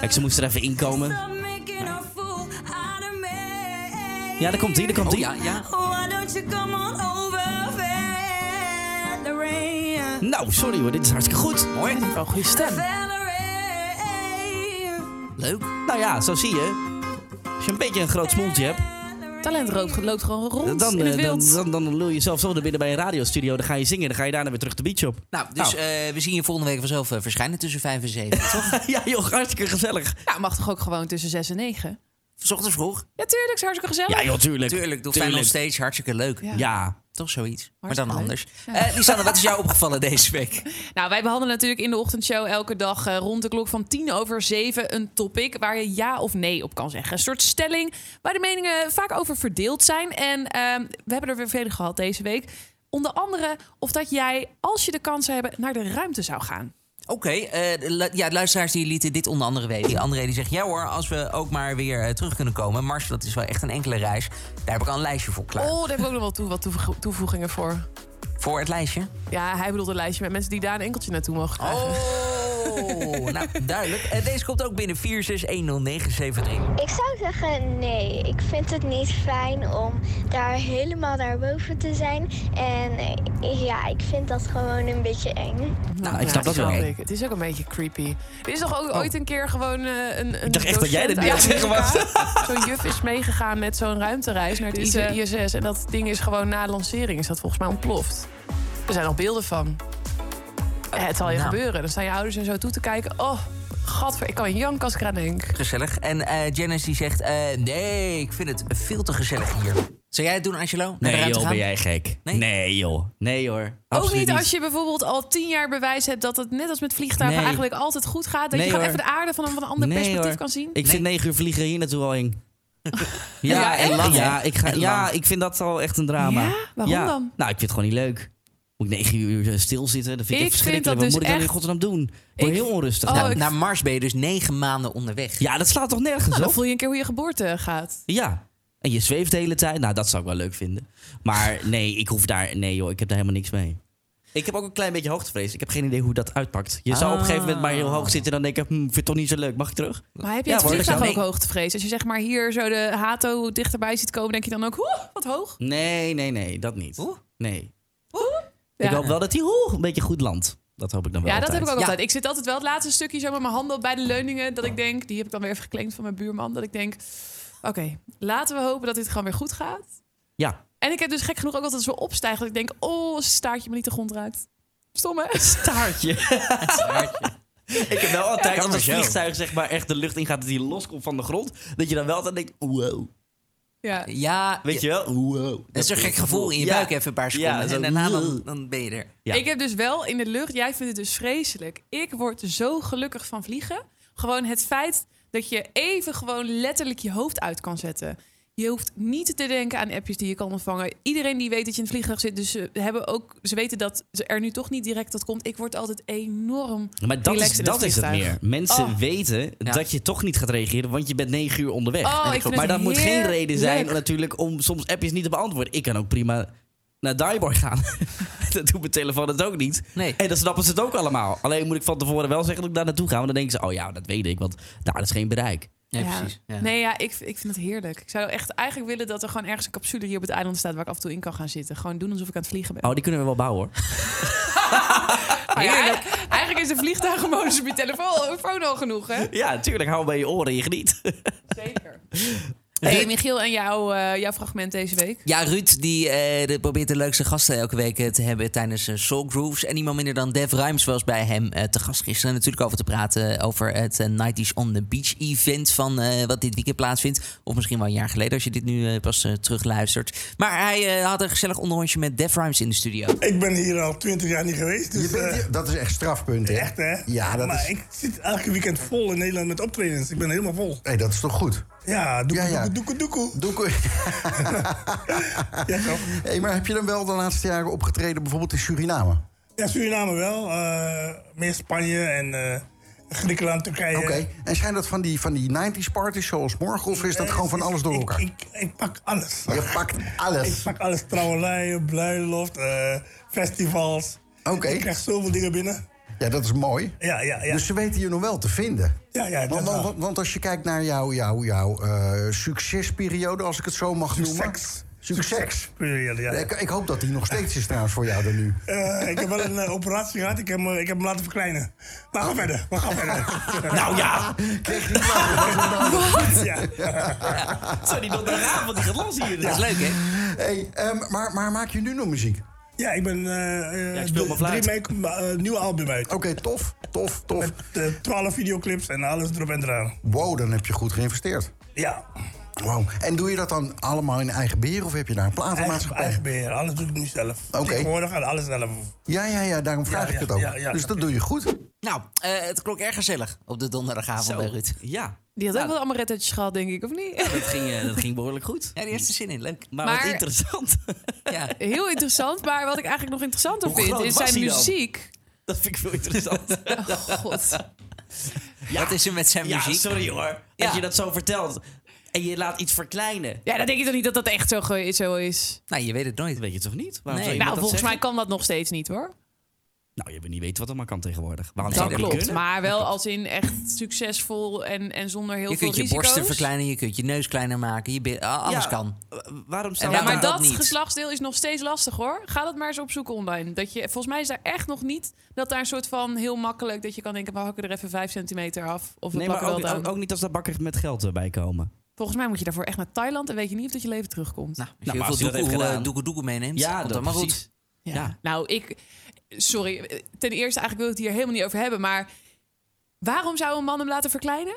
Speaker 1: Kijk, ze moest er even inkomen. Ja, daar komt die, daar komt
Speaker 3: Oh
Speaker 1: die.
Speaker 3: ja, ja.
Speaker 5: Why don't you come on over the rain?
Speaker 1: Nou, sorry hoor, dit is hartstikke goed.
Speaker 3: Mooi.
Speaker 2: Ik heb wel een goede stem.
Speaker 3: Leuk.
Speaker 1: Nou ja, zo zie je. Als je een beetje een groot smoeltje hebt,
Speaker 2: Talent loopt, loopt gewoon rond
Speaker 1: dan,
Speaker 2: in het
Speaker 1: eh, dan,
Speaker 2: wild.
Speaker 1: dan, dan lul je zelf zo naar binnen bij een radiostudio. Dan ga je zingen, dan ga je daarna weer terug de beach op.
Speaker 3: Nou, dus
Speaker 1: Nou.
Speaker 3: eh, we zien je volgende week vanzelf eh, verschijnen tussen 5 en 7. Toch?
Speaker 1: ja joh, hartstikke gezellig.
Speaker 2: Ja, Nou, mag toch ook gewoon tussen 6 en 9?
Speaker 3: S ochtends vroeg.
Speaker 2: Ja, tuurlijk, is hartstikke gezellig.
Speaker 1: Ja joh, tuurlijk.
Speaker 3: Tuurlijk, dolfijn nog steeds hartstikke leuk.
Speaker 2: Ja.
Speaker 1: Ja,
Speaker 3: Toch zoiets. maar dan
Speaker 2: Hartstikke
Speaker 3: anders.
Speaker 2: leuk.
Speaker 3: Eh Lisanne, wat is jou opgevallen deze week?
Speaker 2: Nou, wij behandelen natuurlijk in de ochtendshow elke dag eh, rond de klok van tien over zeven een topic waar je ja of nee op kan zeggen. Een soort stelling waar de meningen vaak over verdeeld zijn. En ehm, we hebben er weer vele gehad deze week. Onder andere of dat jij, als je de kans zou hebben, naar de ruimte zou gaan.
Speaker 3: Oké, eh, de lu- ja, de luisteraars die lieten dit onder andere weten. Die andere die zegt, ja hoor, als we ook maar weer eh, terug kunnen komen. Mars, dat is wel echt een enkele reis. Daar heb ik al een lijstje voor klaar.
Speaker 2: Oh, daar heb ik ook nog wel toe, wat toevoeg- toevoegingen voor.
Speaker 3: Voor het lijstje.
Speaker 2: Ja, hij bedoelde een lijstje met mensen die daar een enkeltje naartoe mogen krijgen.
Speaker 3: Oh, nou duidelijk. Eh, deze komt ook binnen 4610973.
Speaker 6: Ik zou zeggen nee. Ik vind het niet fijn om daar helemaal daarboven te zijn. En eh, ja, ik vind dat gewoon een beetje eng.
Speaker 1: nou, ik snap dat wel.
Speaker 2: ik. Het is ook een beetje creepy. Er is toch ook ooit een keer gewoon eh, een, een.
Speaker 1: dacht echt dat jij dit
Speaker 2: docent
Speaker 1: niet
Speaker 2: uit
Speaker 1: aan het zeggen was.
Speaker 2: Amerika. Zo'n juf is meegegaan met zo'n ruimtereis naar de
Speaker 7: Dit is, eh,
Speaker 2: ISS. En dat ding is gewoon na de lancering is dat volgens mij ontploft. Er zijn al beelden van. Eh, het zal je
Speaker 3: Nou.
Speaker 2: gebeuren. Dan staan je ouders en zo toe te kijken. Oh, gadver, ik kan jank als ik eraan denk.
Speaker 3: Gezellig. En eh, Janice die zegt, eh, nee, ik vind het veel te gezellig hier. Zou jij het doen, Angelo? Naar de
Speaker 1: Nee
Speaker 3: ruimte
Speaker 1: joh,
Speaker 3: gaan?
Speaker 1: ben jij gek.
Speaker 3: Nee?
Speaker 1: Nee, joh. Nee hoor.
Speaker 2: Ook niet als je bijvoorbeeld al tien jaar bewijs hebt dat het net als met vliegtuigen
Speaker 1: Nee.
Speaker 2: eigenlijk altijd goed gaat. Dat
Speaker 1: Nee,
Speaker 2: je gewoon
Speaker 1: hoor.
Speaker 2: even de aarde van een, van een ander perspectief kan zien.
Speaker 1: Ik vind negen uur vliegen hier naartoe al eng. Ja,
Speaker 3: Ja,
Speaker 1: en
Speaker 3: echt?
Speaker 1: lang. Ja, ik ga,
Speaker 3: En
Speaker 1: ja,
Speaker 3: lang.
Speaker 1: ik vind dat al echt een drama.
Speaker 2: Ja? Waarom dan?
Speaker 1: Nou, ik vind het gewoon niet leuk. Moet ik negen uur eh, stilzitten? Dat vind ik,
Speaker 2: Ik
Speaker 1: echt
Speaker 2: vind dat
Speaker 1: verschrikkelijk. Wat
Speaker 2: dus
Speaker 1: moet ik dan in
Speaker 2: echt-
Speaker 1: godsnaam doen? Ik word
Speaker 2: Ik-
Speaker 1: heel onrustig. Nou,
Speaker 2: Oh,
Speaker 1: van.
Speaker 2: ik-
Speaker 3: Naar Mars ben je dus negen maanden onderweg.
Speaker 1: Ja, dat slaat toch nergens
Speaker 2: Nou,
Speaker 1: op?
Speaker 2: dan voel je een keer hoe je geboorte gaat.
Speaker 1: Ja. En je zweeft de hele tijd. Nou, dat zou ik wel leuk vinden. Maar nee, ik hoef daar... Nee joh, ik heb daar helemaal niks mee. Ik heb ook een klein beetje hoogtevrees. Ik heb geen idee hoe dat uitpakt. Je zou op een gegeven moment maar heel hoog zitten... en dan denken, hm, vind het toch niet zo leuk. Mag ik terug?
Speaker 2: Maar heb je
Speaker 1: Ja,
Speaker 2: het
Speaker 1: hoor, dat
Speaker 2: vliegtuig
Speaker 1: kan.
Speaker 2: ook hoogtevrees? Als je zeg maar hier zo de Hato dichterbij ziet komen, denk je dan ook, hoe, wat hoog?
Speaker 1: Nee, nee, nee. Dat niet.
Speaker 3: Oeh.
Speaker 1: Nee.
Speaker 2: Ja,
Speaker 1: Ik hoop wel dat hij oeh, een beetje goed landt. Dat hoop ik dan wel
Speaker 2: ja dat heb ik ook
Speaker 3: Ja.
Speaker 2: altijd. Ik zit altijd wel het laatste stukje zo met mijn handen bij de leuningen. Dat ik denk, die heb ik dan weer even geclaimd van mijn buurman. Dat ik denk, oké, laten we hopen dat dit gewoon weer goed gaat.
Speaker 1: Ja.
Speaker 2: En ik heb dus gek genoeg ook altijd zo opstijgen. Dat ik denk, oh, als een staartje me niet de grond raakt. Stom hè?
Speaker 1: Staartje. ik heb wel altijd,
Speaker 3: kan
Speaker 1: als een
Speaker 3: dus wel.
Speaker 1: vliegtuig zeg maar echt de lucht ingaat... dat die loskomt van de grond, dat je dan wel altijd denkt... wow.
Speaker 2: Ja.
Speaker 3: Ja,
Speaker 1: Weet je wel? Wow.
Speaker 3: dat is een gek gevoel in je
Speaker 1: Ja.
Speaker 3: buik even een paar
Speaker 1: Ja,
Speaker 3: seconden.
Speaker 1: zo,
Speaker 3: en daarna dan,
Speaker 1: "Wow."
Speaker 3: dan ben je er.
Speaker 1: Ja.
Speaker 2: Ik heb dus wel in de lucht, jij vindt het dus vreselijk. Ik word zo gelukkig van vliegen. Gewoon het feit dat je even gewoon letterlijk je hoofd uit kan zetten. Je hoeft niet te denken aan appjes die je kan ontvangen. Iedereen die weet dat je in het vliegtuig zit, dus ze, hebben ook, ze weten dat ze er nu toch niet direct dat komt. Ik word altijd enorm.
Speaker 1: Maar dat,
Speaker 2: relaxed
Speaker 1: is
Speaker 2: in
Speaker 1: het, dat is het meer.
Speaker 2: vliegtuig.
Speaker 1: Mensen
Speaker 2: Oh.
Speaker 1: weten
Speaker 3: Ja.
Speaker 1: dat je toch niet gaat reageren, want je bent negen uur onderweg.
Speaker 2: Oh, ik
Speaker 1: En-
Speaker 2: vind
Speaker 1: maar
Speaker 2: het
Speaker 1: dat moet geen
Speaker 2: heerlijk.
Speaker 1: reden zijn natuurlijk om soms appjes niet te beantwoorden. Ik kan ook prima naar Daiboy gaan. dat doet mijn telefoon het ook niet.
Speaker 3: Nee.
Speaker 1: En dan snappen ze het ook allemaal. Alleen moet ik van tevoren wel zeggen dat ik daar naartoe ga. Want dan denken ze, oh ja, dat weet ik, want daar is geen bereik.
Speaker 3: Ja,
Speaker 2: Ja.
Speaker 3: precies. Ja.
Speaker 2: Nee, ja, ik, ik vind het heerlijk. Ik zou echt eigenlijk willen dat er gewoon ergens een capsule hier op het eiland staat waar ik af en toe in kan gaan zitten. Gewoon doen alsof ik aan het vliegen ben.
Speaker 1: Oh, die kunnen we wel bouwen hoor.
Speaker 2: Maar Ah, ja, eigenlijk, eigenlijk is de vliegtuigenmodus op je telefoon al genoeg, hè?
Speaker 1: ja, natuurlijk. Hou bij je oren, je geniet.
Speaker 2: Zeker. Hey, Michiel, en jouw, eh, jouw fragment deze week?
Speaker 3: Ja, Ruud die, eh, de- probeert de leukste gasten elke week eh, te hebben tijdens eh, Soul Grooves. En niemand minder dan Dev Ruims was bij hem eh, te gast gisteren. Natuurlijk over te praten over het eh, Nighties on the Beach event van eh, wat dit weekend plaatsvindt. Of misschien wel een jaar geleden als je dit nu eh, pas eh, terugluistert. Maar hij eh, had een gezellig onderhondje met Dev Ruims in de studio.
Speaker 8: Ik ben hier al twintig jaar niet geweest. Dus,
Speaker 9: Je bent
Speaker 8: eh,
Speaker 9: hier- dat is echt strafpunt, hè?
Speaker 8: echt, hè?
Speaker 9: Ja, dat
Speaker 8: maar
Speaker 9: is...
Speaker 8: ik zit elke weekend vol in Nederland met optredens. Ik ben helemaal vol.
Speaker 9: Hey, dat is toch goed?
Speaker 8: Ja, doekoe,
Speaker 9: Ja, ja.
Speaker 8: doekoe, doekoe, doekoe.
Speaker 9: Doekoe.
Speaker 8: Ja, toch?
Speaker 9: hey, maar heb je dan wel de laatste jaren opgetreden bijvoorbeeld in Suriname?
Speaker 8: Ja, Suriname wel. eh, meer Spanje en eh, Griekenland, Turkije.
Speaker 9: Oké. En zijn dat van die, van die 90s parties zoals morgen of is dat
Speaker 8: Eh,
Speaker 9: gewoon van
Speaker 8: ik-
Speaker 9: alles door
Speaker 8: ik-
Speaker 9: elkaar?
Speaker 8: Ik, ik, pak alles.
Speaker 9: Je pakt
Speaker 8: Ik
Speaker 9: alles.
Speaker 8: pak alles. Trouwerijen, bruiloft, eh, festivals.
Speaker 9: Oké.
Speaker 8: Ik krijg zoveel dingen binnen.
Speaker 9: Ja, dat is mooi.
Speaker 8: Ja, ja, ja.
Speaker 9: Dus ze weten je nog wel te vinden.
Speaker 8: Ja, ja, dat
Speaker 9: want,
Speaker 8: wel.
Speaker 9: want, want als je kijkt naar jouw jou, jou, eh, succesperiode, als ik het zo mag noemen.
Speaker 8: Succes.
Speaker 9: Succes.
Speaker 8: Periode, ja.
Speaker 9: Ik, ik hoop dat die nog steeds is trouwens voor jou dan nu.
Speaker 8: Eh, ik heb wel een eh, operatie gehad. Ik heb, me- ik heb hem laten verkleinen. Maar ga verder. Maar ga verder.
Speaker 1: Nou ja,
Speaker 9: Kreeg niet waar, dat was een ander.
Speaker 8: ja.
Speaker 1: zou die dan daarna, want die gaat los hier.
Speaker 3: Dat is leuk, hè?
Speaker 9: Hey, ehm, maar, maar maak je nu nog muziek?
Speaker 8: ja, ik ben eh, eh,
Speaker 1: Ja, ik speel mijn
Speaker 8: drie
Speaker 1: fluit.
Speaker 8: weken ma- eh, nieuw album uit.
Speaker 9: Oké, tof, tof, tof.
Speaker 8: Met eh, 12 videoclips en alles erop en eraan.
Speaker 9: Wow, dan heb je goed geïnvesteerd.
Speaker 8: Ja,
Speaker 9: Wow. En doe je dat dan allemaal in eigen beheer of heb je daar een
Speaker 8: eigen,
Speaker 9: platenmaatschappij?
Speaker 8: eigen beheer. Alles doe ik nu zelf.
Speaker 9: Oké.
Speaker 8: Tegenwoordig gaat alles zelf.
Speaker 9: Ja, ja, ja, daarom vraag
Speaker 8: Ja,
Speaker 9: ik
Speaker 8: ja,
Speaker 9: het ook.
Speaker 8: ja, ja,
Speaker 9: dus
Speaker 8: snap
Speaker 9: dat
Speaker 8: je.
Speaker 9: doe je goed.
Speaker 3: Nou, eh, het klonk erg gezellig op de donderdagavond bij Ruud.
Speaker 1: Ja,
Speaker 2: Die had
Speaker 1: Nou,
Speaker 2: ook wel amarettetjes gehad, denk ik, of niet?
Speaker 1: dat ging, eh, dat ging behoorlijk goed.
Speaker 3: Ja, die heeft er zin in. Leuk.
Speaker 1: Maar,
Speaker 2: Maar-
Speaker 1: wat interessant.
Speaker 3: Ja.
Speaker 2: Heel interessant, maar wat ik eigenlijk nog interessanter
Speaker 1: Hoe
Speaker 2: vind,
Speaker 1: groot
Speaker 2: is
Speaker 1: was
Speaker 2: zijn
Speaker 1: hij dan?
Speaker 2: muziek.
Speaker 1: dat vind ik veel interessant.
Speaker 2: Oh, god.
Speaker 3: Wat is er met zijn
Speaker 1: Ja,
Speaker 3: muziek?
Speaker 1: sorry hoor.
Speaker 3: Ja.
Speaker 1: Dat je dat zo vertelt. En je laat iets verkleinen.
Speaker 2: Ja, dan denk je toch niet dat dat echt zo, ge- zo is?
Speaker 3: Nou, je weet het nooit.
Speaker 1: Dat weet je toch niet? Waarom
Speaker 3: Nee.
Speaker 1: zou je
Speaker 2: nou,
Speaker 1: dat
Speaker 2: volgens mij
Speaker 1: zeggen?
Speaker 2: kan dat nog steeds niet, hoor.
Speaker 1: Nou, je weet niet weten wat er maar kan tegenwoordig. Waarom
Speaker 2: Dat
Speaker 1: zou ik niet
Speaker 2: klopt,
Speaker 1: kunnen?
Speaker 2: maar wel als in echt succesvol en, en zonder heel veel
Speaker 3: Je kunt je
Speaker 2: risico's.
Speaker 3: borsten verkleinen, je kunt je neus kleiner maken. Je bi- ah, alles
Speaker 1: Ja, Nou,
Speaker 3: kan.
Speaker 1: wa- Waarom
Speaker 3: En
Speaker 1: zou
Speaker 2: Ja,
Speaker 3: waarom
Speaker 2: maar
Speaker 3: dat
Speaker 2: dat
Speaker 3: niet?
Speaker 2: geslachtsdeel is nog steeds lastig hoor. Ga dat maar eens opzoeken online. Dat je, volgens mij is daar echt nog niet dat daar een soort van heel makkelijk dat je kan denken: we hakken er even vijf centimeter af. Of we
Speaker 1: Nee, maar
Speaker 2: plakken
Speaker 1: ook,
Speaker 2: wel
Speaker 1: ook,
Speaker 2: down.
Speaker 1: ook niet als daar bakkers met geld eh, bij komen.
Speaker 2: Volgens mij moet je daarvoor echt naar Thailand en weet je niet of dat je leven terugkomt.
Speaker 3: Nou, als
Speaker 1: maar
Speaker 3: je heel
Speaker 1: als
Speaker 3: veel
Speaker 1: hij dat heeft
Speaker 3: doekoe, eh,
Speaker 1: gedaan-
Speaker 3: doekoe-doekoe meeneemt,
Speaker 1: Ja,
Speaker 3: komt
Speaker 1: dat
Speaker 3: dan maar goed.
Speaker 1: precies. Ja.
Speaker 2: Nou, ik. Sorry, eh, ten eerste eigenlijk wil ik het hier helemaal niet over hebben, maar waarom zou een man hem laten verkleinen?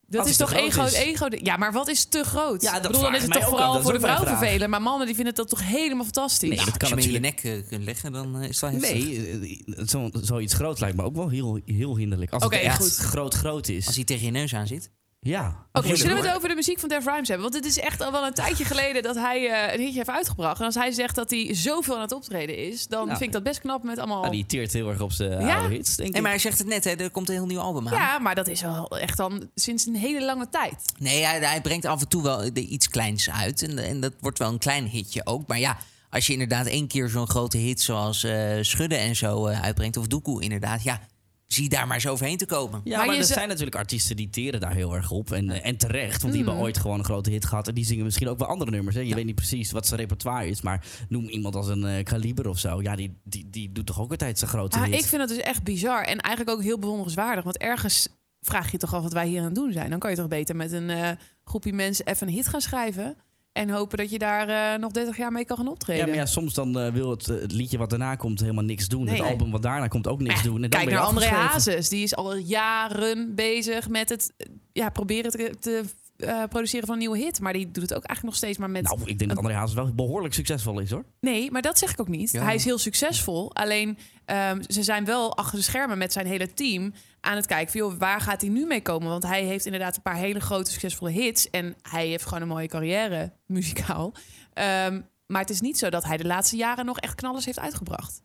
Speaker 2: Dat
Speaker 1: Als het
Speaker 2: is toch
Speaker 1: te groot
Speaker 2: ego,
Speaker 1: is.
Speaker 2: ego. Ja, maar wat is te groot?
Speaker 1: Ja, dat
Speaker 2: Ik bedoel, dan
Speaker 1: vraag
Speaker 2: is het
Speaker 1: ik mij
Speaker 2: toch
Speaker 1: ook af.
Speaker 2: vooral
Speaker 1: Dat is
Speaker 2: voor de
Speaker 1: ook mijn
Speaker 2: vrouw
Speaker 1: vraag.
Speaker 2: vervelend. Maar mannen die vinden dat toch helemaal fantastisch.
Speaker 1: Nee, dat
Speaker 3: Als
Speaker 1: kan
Speaker 3: je hem in je
Speaker 1: natuurlijk.
Speaker 3: nek eh, kunt leggen, dan eh, is het wel heftig.
Speaker 1: Nee, eh, zo, zoiets groot lijkt me ook wel heel, heel hinderlijk. Als
Speaker 2: Oké,
Speaker 1: het echt
Speaker 2: goed.
Speaker 1: groot groot is.
Speaker 3: Als hij tegen je neus aan zit.
Speaker 1: Ja.
Speaker 2: Oké, zullen we het over de muziek van Def Rhymes hebben? Want het is echt al wel een tijdje geleden dat hij eh, een hitje heeft uitgebracht. En als hij zegt dat hij zoveel aan het optreden is, dan
Speaker 1: Nou,
Speaker 2: vind ik dat best knap met allemaal...
Speaker 1: Ah, die teert heel erg op zijn
Speaker 2: Ja?
Speaker 1: oude hits, denk
Speaker 3: Nee,
Speaker 1: ik.
Speaker 3: maar hij zegt het net, hè, er komt een heel nieuw album aan.
Speaker 2: Ja, maar dat is wel echt dan sinds een hele lange tijd.
Speaker 3: Nee, hij, hij brengt af en toe wel de- iets kleins uit. En, en dat wordt wel een klein hitje ook. Maar ja, als je inderdaad één keer zo'n grote hit zoals eh, Schudden en zo eh, uitbrengt... of Doekoe inderdaad, ja, zie daar maar eens overheen te komen.
Speaker 1: Ja,
Speaker 2: Maar
Speaker 1: maar,
Speaker 2: je
Speaker 1: er
Speaker 2: ze-
Speaker 1: zijn natuurlijk artiesten die teren daar heel erg op. En, eh, en terecht, want die
Speaker 2: Mm.
Speaker 1: hebben ooit gewoon een grote hit gehad. En die zingen misschien ook wel andere nummers. Hè? Je weet niet precies wat zijn repertoire is. Maar noem iemand als een eh, kaliber of zo. Ja, die, die, die doet toch ook altijd zijn grote
Speaker 2: Ah,
Speaker 1: hit.
Speaker 2: ik vind dat dus echt bizar en eigenlijk ook heel bewonderenswaardig. Want ergens vraag je toch af wat wij hier aan het doen zijn. Dan kan je toch beter met een eh, groepje mensen even een hit gaan schrijven... en hopen dat je daar eh, nog 30 jaar mee kan gaan optreden.
Speaker 1: ja, maar ja, soms dan eh, wil het, eh, het liedje wat daarna komt helemaal niks doen.
Speaker 2: Nee.
Speaker 1: het album wat daarna komt ook niks
Speaker 2: Ja,
Speaker 1: doen. En dan
Speaker 2: Eh, Kijk
Speaker 1: ben je
Speaker 2: naar André
Speaker 1: afgeschreven.
Speaker 2: Hazes. Die is al jaren bezig met het eh, ja, proberen te, te eh, produceren van een nieuwe hit. Maar die doet het ook eigenlijk nog steeds maar met...
Speaker 1: Nou, ik denk dat André Hazes wel behoorlijk succesvol is, hoor.
Speaker 2: Nee, maar dat zeg ik ook niet.
Speaker 3: Ja.
Speaker 2: Hij is heel succesvol. Alleen ehm, ze zijn wel achter de schermen met zijn hele team aan het kijken van... Joh, waar gaat hij nu mee komen? Want hij heeft inderdaad een paar hele grote succesvolle hits. En hij heeft gewoon een mooie carrière, muzikaal. Ehm, maar het is niet zo dat hij de laatste jaren nog echt knallers heeft uitgebracht.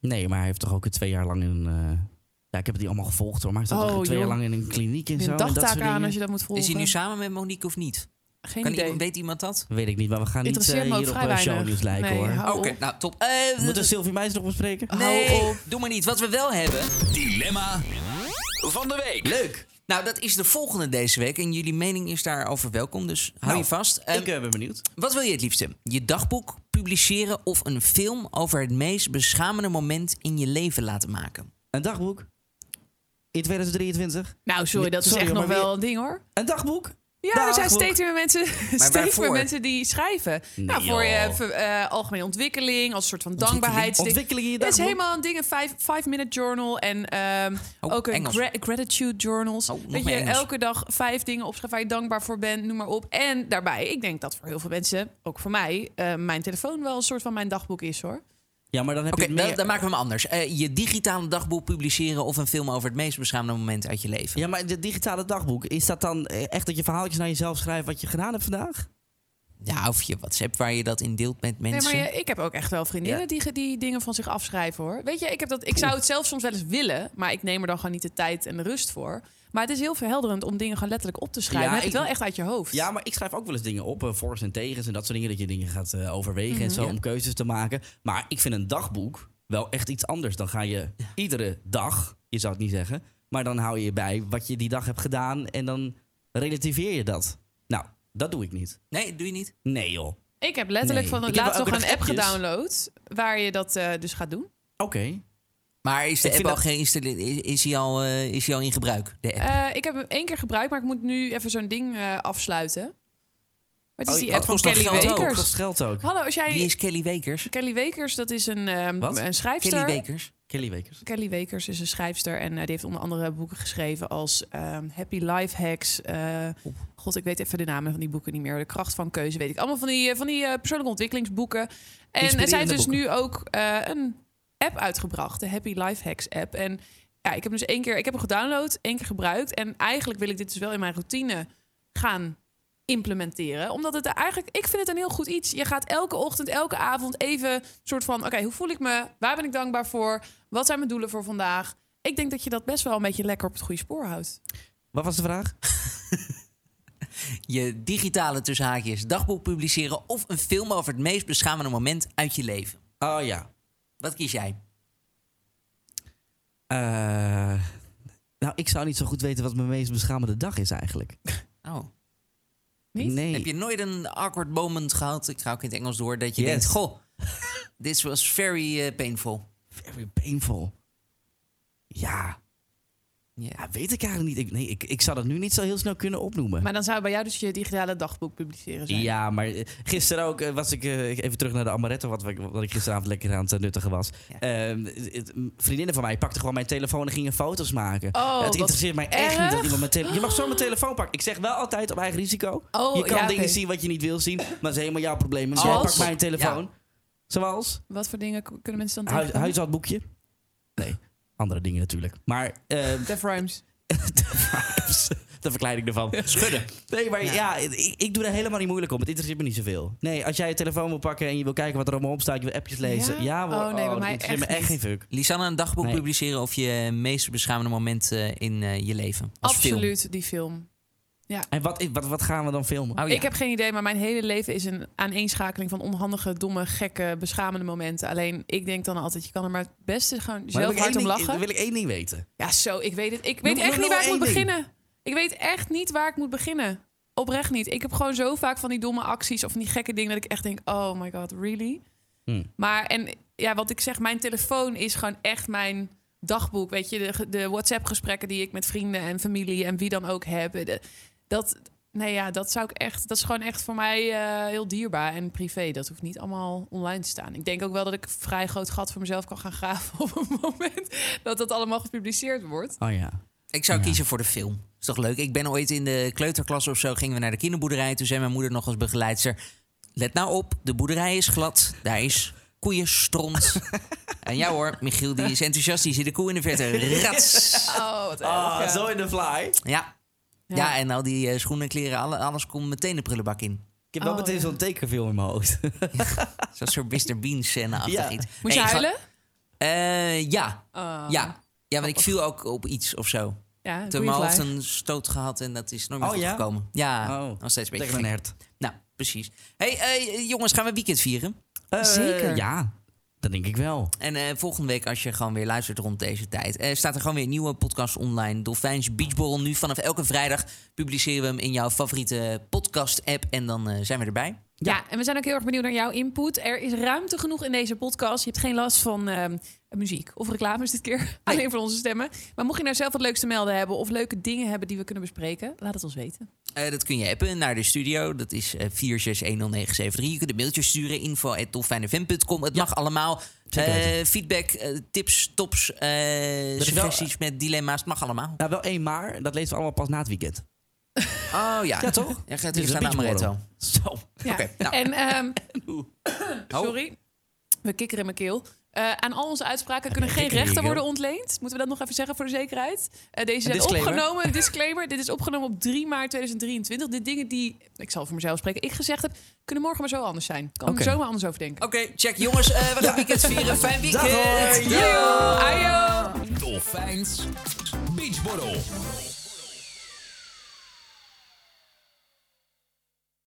Speaker 1: Nee, maar hij heeft toch ook twee jaar lang in... een, eh, Ja, ik heb het niet allemaal gevolgd, hoor. Maar hij staat
Speaker 2: Oh,
Speaker 1: toch ook twee
Speaker 2: joh.
Speaker 1: jaar lang in een kliniek en
Speaker 2: Er
Speaker 1: zo.
Speaker 2: zit
Speaker 1: en
Speaker 2: Een
Speaker 1: dat soort
Speaker 2: dagtaak aan
Speaker 1: dingen.
Speaker 2: als je dat moet volgen.
Speaker 3: Is hij nu samen met Monique of niet?
Speaker 2: Geen
Speaker 3: Kan
Speaker 2: idee.
Speaker 3: iemand, weet iemand dat?
Speaker 1: Weet ik niet, maar we gaan niet eh,
Speaker 2: Interesseert me ook
Speaker 1: hier op
Speaker 2: vrij
Speaker 1: eh,
Speaker 2: weinig.
Speaker 1: shownieuws lijken,
Speaker 2: Nee,
Speaker 1: hoor.
Speaker 2: hou
Speaker 3: Oké,
Speaker 2: op.
Speaker 3: nou top. Eh,
Speaker 1: Moeten Oh. we Sylvie Meijs nog bespreken?
Speaker 3: nee, doe maar niet. Wat we wel hebben...
Speaker 4: Dilemma van de week.
Speaker 3: Leuk. Nou, dat is de volgende deze week. En jullie mening is daarover welkom, dus hou
Speaker 1: Nou,
Speaker 3: je vast. Eh,
Speaker 1: ik eh, ben benieuwd.
Speaker 3: Wat wil je het liefste? Je dagboek publiceren of een film over het meest beschamende moment in je leven laten maken?
Speaker 1: Een dagboek? In 2023?
Speaker 2: Nou, sorry, dat is
Speaker 1: Sorry,
Speaker 2: echt
Speaker 1: hoor,
Speaker 2: nog
Speaker 1: maar
Speaker 2: wel een ding hoor.
Speaker 1: Een dagboek?
Speaker 2: Ja, er
Speaker 1: Dagboek.
Speaker 2: zijn steeds meer mensen, steeds
Speaker 3: waarvoor?
Speaker 2: meer mensen die schrijven.
Speaker 1: Nee,
Speaker 2: nou, voor
Speaker 1: joh.
Speaker 2: je ver- eh, algemene ontwikkeling, als een soort van dankbaarheidsding.
Speaker 1: Ontwikkeling in je
Speaker 2: Het is
Speaker 1: dagboek?
Speaker 2: helemaal een ding, een five- five-minute journal en ehm,
Speaker 3: Oh,
Speaker 2: ook een
Speaker 3: Engels.
Speaker 2: gra- gratitude journals.
Speaker 3: Oh, nog
Speaker 2: dat je
Speaker 3: meer Engels.
Speaker 2: elke dag vijf dingen opschrijft waar je dankbaar voor bent, noem maar op. En daarbij, ik denk dat voor heel veel mensen, ook voor mij, eh, mijn telefoon wel een soort van mijn dagboek is hoor.
Speaker 1: Ja, maar dan heb
Speaker 3: Oké,
Speaker 1: je het meer...
Speaker 3: dan, dan maken we hem anders. Eh, je digitale dagboek publiceren of een film over het meest beschamende moment uit je leven?
Speaker 1: Ja, maar het digitale dagboek, is dat dan eh, echt dat je verhaaltjes naar jezelf schrijft wat je gedaan hebt vandaag?
Speaker 3: Ja, of je WhatsApp waar je dat in deelt met mensen.
Speaker 2: Nee, maar je- ik heb ook echt wel vriendinnen
Speaker 3: Ja.
Speaker 2: die, ge- die dingen van zich afschrijven hoor. Weet je, ik, heb dat, ik zou het zelf soms wel eens willen, maar ik neem er dan gewoon niet de tijd en de rust voor. Maar het is heel verhelderend om dingen gewoon letterlijk op te schrijven.
Speaker 1: Ja,
Speaker 2: Dan heb je het
Speaker 1: ik-
Speaker 2: wel echt uit je hoofd.
Speaker 1: Ja, maar ik schrijf ook wel eens dingen op, eh, voor's
Speaker 2: Mhm,
Speaker 1: en tegens en dat soort dingen. Dat je dingen gaat eh, overwegen en zo om keuzes te maken. Maar ik vind een dagboek wel echt iets anders. Dan ga je iedere dag, je zou het niet zeggen, maar dan hou je je bij wat je die dag hebt gedaan en dan relativeer je dat. Nou, dat doe ik niet.
Speaker 3: Nee, doe je niet.
Speaker 1: Nee joh.
Speaker 2: Ik heb letterlijk
Speaker 1: Nee.
Speaker 2: van
Speaker 1: Ik heb
Speaker 2: laatst
Speaker 1: ook
Speaker 2: nog
Speaker 1: nog
Speaker 2: een app
Speaker 1: appjes.
Speaker 2: gedownload waar je dat eh, dus gaat doen.
Speaker 1: Oké.
Speaker 3: Maar is
Speaker 1: Ik
Speaker 3: de app
Speaker 1: vind
Speaker 3: al
Speaker 1: dat-
Speaker 3: geïnstalleerd? Is, is, die al, eh, is die al in gebruik? De app.
Speaker 2: Eh, ik heb hem één keer gebruikt, maar ik moet nu even zo'n ding eh, afsluiten. Maar het is
Speaker 1: Oh,
Speaker 2: die
Speaker 1: dat
Speaker 2: app van
Speaker 3: kost nog
Speaker 2: Kelly
Speaker 3: geld ook.
Speaker 1: Dat
Speaker 2: Wekers.
Speaker 1: kost geld ook.
Speaker 2: Hallo, als jij
Speaker 3: Wie is Kelly Wekers?
Speaker 2: Kelly Wekers, dat is een, ehm,
Speaker 1: Wat?
Speaker 2: een schrijfster.
Speaker 3: Kelly Wekers.
Speaker 1: Kelly Wekers.
Speaker 2: Kelly Wekers is een schrijfster en eh, die heeft onder andere boeken geschreven als ehm, Happy Life Hacks. eh, God, ik weet even de namen van die boeken niet meer. De kracht van keuze weet ik. Allemaal van die, eh, van die eh, persoonlijke ontwikkelingsboeken. En eh, zij heeft
Speaker 1: Inspirerende
Speaker 2: dus
Speaker 1: boeken.
Speaker 2: nu ook eh, een app uitgebracht, de Happy Life Hacks app. En ja, ik heb hem dus één keer, ik heb hem gedownload, één keer gebruikt. En eigenlijk wil ik dit dus wel in mijn routine gaan implementeren. Omdat het er eigenlijk, ik vind het een heel goed iets. Je gaat elke ochtend, elke avond even soort van: oké, hoe voel ik me? Waar ben ik dankbaar voor? Wat zijn mijn doelen voor vandaag? Ik denk dat je dat best wel een beetje lekker op het goede spoor houdt.
Speaker 1: Wat was de vraag?
Speaker 3: Je digitale tussen haakjes dagboek publiceren of een film over het meest beschamende moment uit je leven.
Speaker 1: Oh ja.
Speaker 3: Wat kies jij?
Speaker 1: Eh, nou, ik zou niet zo goed weten wat mijn meest beschamende dag is eigenlijk.
Speaker 3: Oh.
Speaker 2: Niet?
Speaker 1: Nee.
Speaker 3: Heb je nooit een awkward moment gehad? Ik ga ook in het Engels door. Dat je
Speaker 1: Yes.
Speaker 3: denkt, goh, this was very eh, painful.
Speaker 1: Very painful. Ja.
Speaker 3: Ja.
Speaker 1: ja, weet ik eigenlijk niet. Ik, nee, ik, ik zou dat nu niet zo heel snel kunnen opnoemen.
Speaker 2: Maar dan zou bij jou dus je digitale dagboek publiceren zijn.
Speaker 1: Ja, maar eh, gisteren ook eh, was ik eh, even terug naar de amaretto, wat, we- wat ik gisteravond lekker aan het eh, nuttigen was.
Speaker 3: Ja.
Speaker 1: Ehm, het- het- m- vriendinnen van mij pakten gewoon mijn telefoon en gingen foto's maken.
Speaker 2: Oh,
Speaker 1: het
Speaker 2: wat
Speaker 1: interesseert mij echt
Speaker 2: erg.
Speaker 1: niet dat iemand mijn telefoon. Je mag zo mijn telefoon pakken. Ik zeg wel altijd op eigen risico.
Speaker 2: Oh,
Speaker 1: je kan
Speaker 2: ja,
Speaker 1: dingen
Speaker 2: oké.
Speaker 1: zien wat je niet wil zien, maar dat is helemaal jouw probleem. Dus
Speaker 2: Zoals?
Speaker 1: jij pakt mijn telefoon. Zoals?
Speaker 2: Wat voor dingen k- kunnen mensen dan
Speaker 1: Huis,
Speaker 2: tegen?
Speaker 1: huishoudboekje? Nee, andere dingen natuurlijk. Maar ehm,
Speaker 2: Def Rhymes.
Speaker 1: de verkleiding ervan.
Speaker 3: Schudden.
Speaker 1: Nee, maar ja, ik, ik doe daar helemaal niet moeilijk om. Het interesseert me niet zoveel. Nee, als jij je telefoon wil pakken en je wil kijken wat er allemaal op staat, je wil appjes lezen.
Speaker 2: Ja?
Speaker 1: Ja, hoor.
Speaker 2: Oh, nee, bij
Speaker 1: dat
Speaker 2: mij
Speaker 1: interesseert
Speaker 2: echt
Speaker 1: me echt
Speaker 2: niet.
Speaker 1: geen fuck.
Speaker 3: Lisanne, een dagboek
Speaker 1: Nee.
Speaker 3: publiceren of je meest beschamende moment eh, in eh, je leven? Als film.
Speaker 2: Absoluut, die film.
Speaker 1: En wat, wat, wat gaan we dan filmen?
Speaker 3: Oh, ja.
Speaker 2: Ik heb geen idee, maar mijn hele leven is een aaneenschakeling van onhandige, domme, gekke, beschamende momenten. Alleen ik denk dan altijd, je kan er maar het beste gewoon
Speaker 1: Maar dan
Speaker 2: zelf
Speaker 1: wil ik één
Speaker 2: hard om
Speaker 1: ding-
Speaker 2: lachen.
Speaker 1: Dan wil ik één ding weten.
Speaker 2: Ja, zo, ik weet het. Ik weet
Speaker 1: Noem-
Speaker 2: echt
Speaker 1: noem
Speaker 2: niet
Speaker 1: nou
Speaker 2: waar ik moet
Speaker 1: één ding.
Speaker 2: beginnen. Ik weet echt niet waar ik moet beginnen. Oprecht niet. Ik heb gewoon zo vaak van die domme acties of van die gekke dingen dat ik echt denk, oh my god, really?
Speaker 1: Hmm.
Speaker 2: Maar en ja, wat ik zeg, mijn telefoon is gewoon echt mijn dagboek. Weet je, de, ge- de WhatsApp-gesprekken die ik met vrienden en familie en wie dan ook heb. De- dat, nee ja, dat zou ik echt, dat is gewoon echt voor mij eh, heel dierbaar en privé. Dat hoeft niet allemaal online te staan. Ik denk ook wel dat ik een vrij groot gat voor mezelf kan gaan graven op het moment dat dat allemaal gepubliceerd wordt.
Speaker 1: Oh ja.
Speaker 3: Ik zou kiezen voor de film. Is toch leuk? Ik ben ooit in de kleuterklas of zo, gingen we naar de kinderboerderij. Toen zei mijn moeder nog als begeleidster... Let nou op, de boerderij is glad. Daar is koeienstront. en ja hoor, Michiel die is enthousiast. Die ziet de koe in de verte. Rats!
Speaker 2: Oh, wat erg,
Speaker 1: Ah,
Speaker 2: ja.
Speaker 1: zo in de fly.
Speaker 3: Ja. Ja. en al die eh, schoenen, kleren, alle- alles komt meteen de prullenbak in.
Speaker 1: Ik heb wel
Speaker 2: Oh,
Speaker 1: meteen
Speaker 2: ja.
Speaker 1: zo'n tekenfilm in mijn hoofd.
Speaker 3: Zo'n soort eh, Mr. Bean scène achter
Speaker 1: Ja.
Speaker 3: iets.
Speaker 2: Moest je
Speaker 3: Hey, ga-
Speaker 2: huilen?
Speaker 3: Eh, ja.
Speaker 2: Oh.
Speaker 3: ja. Ja, want ik viel ook op iets of zo.
Speaker 2: Ja,
Speaker 3: Toen mijn hoofd
Speaker 2: Greenfly.
Speaker 3: een stoot gehad en dat is nooit meer
Speaker 1: Oh,
Speaker 3: goed
Speaker 1: ja?
Speaker 3: gekomen. Ja,
Speaker 1: Oh,
Speaker 3: nog steeds een beetje
Speaker 1: Tegen een
Speaker 3: gek.
Speaker 1: hert.
Speaker 3: Nou, precies. hey, eh, jongens, gaan we weekend vieren?
Speaker 1: Eh,
Speaker 2: Zeker.
Speaker 1: Ja, dat denk ik wel.
Speaker 3: En eh, volgende week, als je gewoon weer luistert rond deze tijd, eh, staat er gewoon weer een nieuwe podcast online. Dolfijns Beachborrel. Nu vanaf elke vrijdag publiceren we hem in jouw favoriete podcast-app. En dan eh, zijn we erbij.
Speaker 2: Ja. en we zijn ook heel erg benieuwd naar jouw input. Er is ruimte genoeg in deze podcast. Je hebt geen last van ehm, muziek of reclames dit keer. Alleen van onze stemmen. Maar mocht je nou zelf wat leuks te melden hebben... of leuke dingen hebben die we kunnen bespreken... laat het ons weten.
Speaker 3: Eh, dat kun je appen naar de studio. Dat is eh 4610973. Je kunt een mailtje sturen. info.dolfijnfm.com. Het mag allemaal.
Speaker 1: Zeker
Speaker 3: Eh, feedback, eh, tips, tops, eh,
Speaker 1: is wel-
Speaker 3: suggesties met dilemma's. Het mag allemaal.
Speaker 1: Nou, wel één maar. Dat lezen we allemaal pas na het weekend.
Speaker 3: Oh ja.
Speaker 1: Ja, toch?
Speaker 3: Ja, gaat
Speaker 1: Dus
Speaker 3: dus
Speaker 1: een
Speaker 3: staan amaretto.
Speaker 1: beachmodel. Zo.
Speaker 2: Ja.
Speaker 3: Oké, nou.
Speaker 2: En, ehm,
Speaker 1: Oh.
Speaker 2: sorry, we kikkeren in mijn keel. Eh, aan al onze uitspraken kunnen geen
Speaker 1: kikker in je
Speaker 2: rechten
Speaker 1: keel?
Speaker 2: worden ontleend. Moeten we dat nog even zeggen voor de zekerheid? Eh, deze zijn
Speaker 1: disclaimer.
Speaker 2: opgenomen, disclaimer. Dit is opgenomen op 3 maart 2023. De dingen die, ik zal voor mezelf spreken, ik gezegd heb... kunnen morgen maar zo anders zijn. Kan
Speaker 1: Oké.
Speaker 2: er zomaar anders over denken.
Speaker 3: Oké, check. Jongens, eh, we gaan weekend vieren. Fijn weekend.
Speaker 2: Joe, ajo.
Speaker 4: Dolfijns Beachborrel.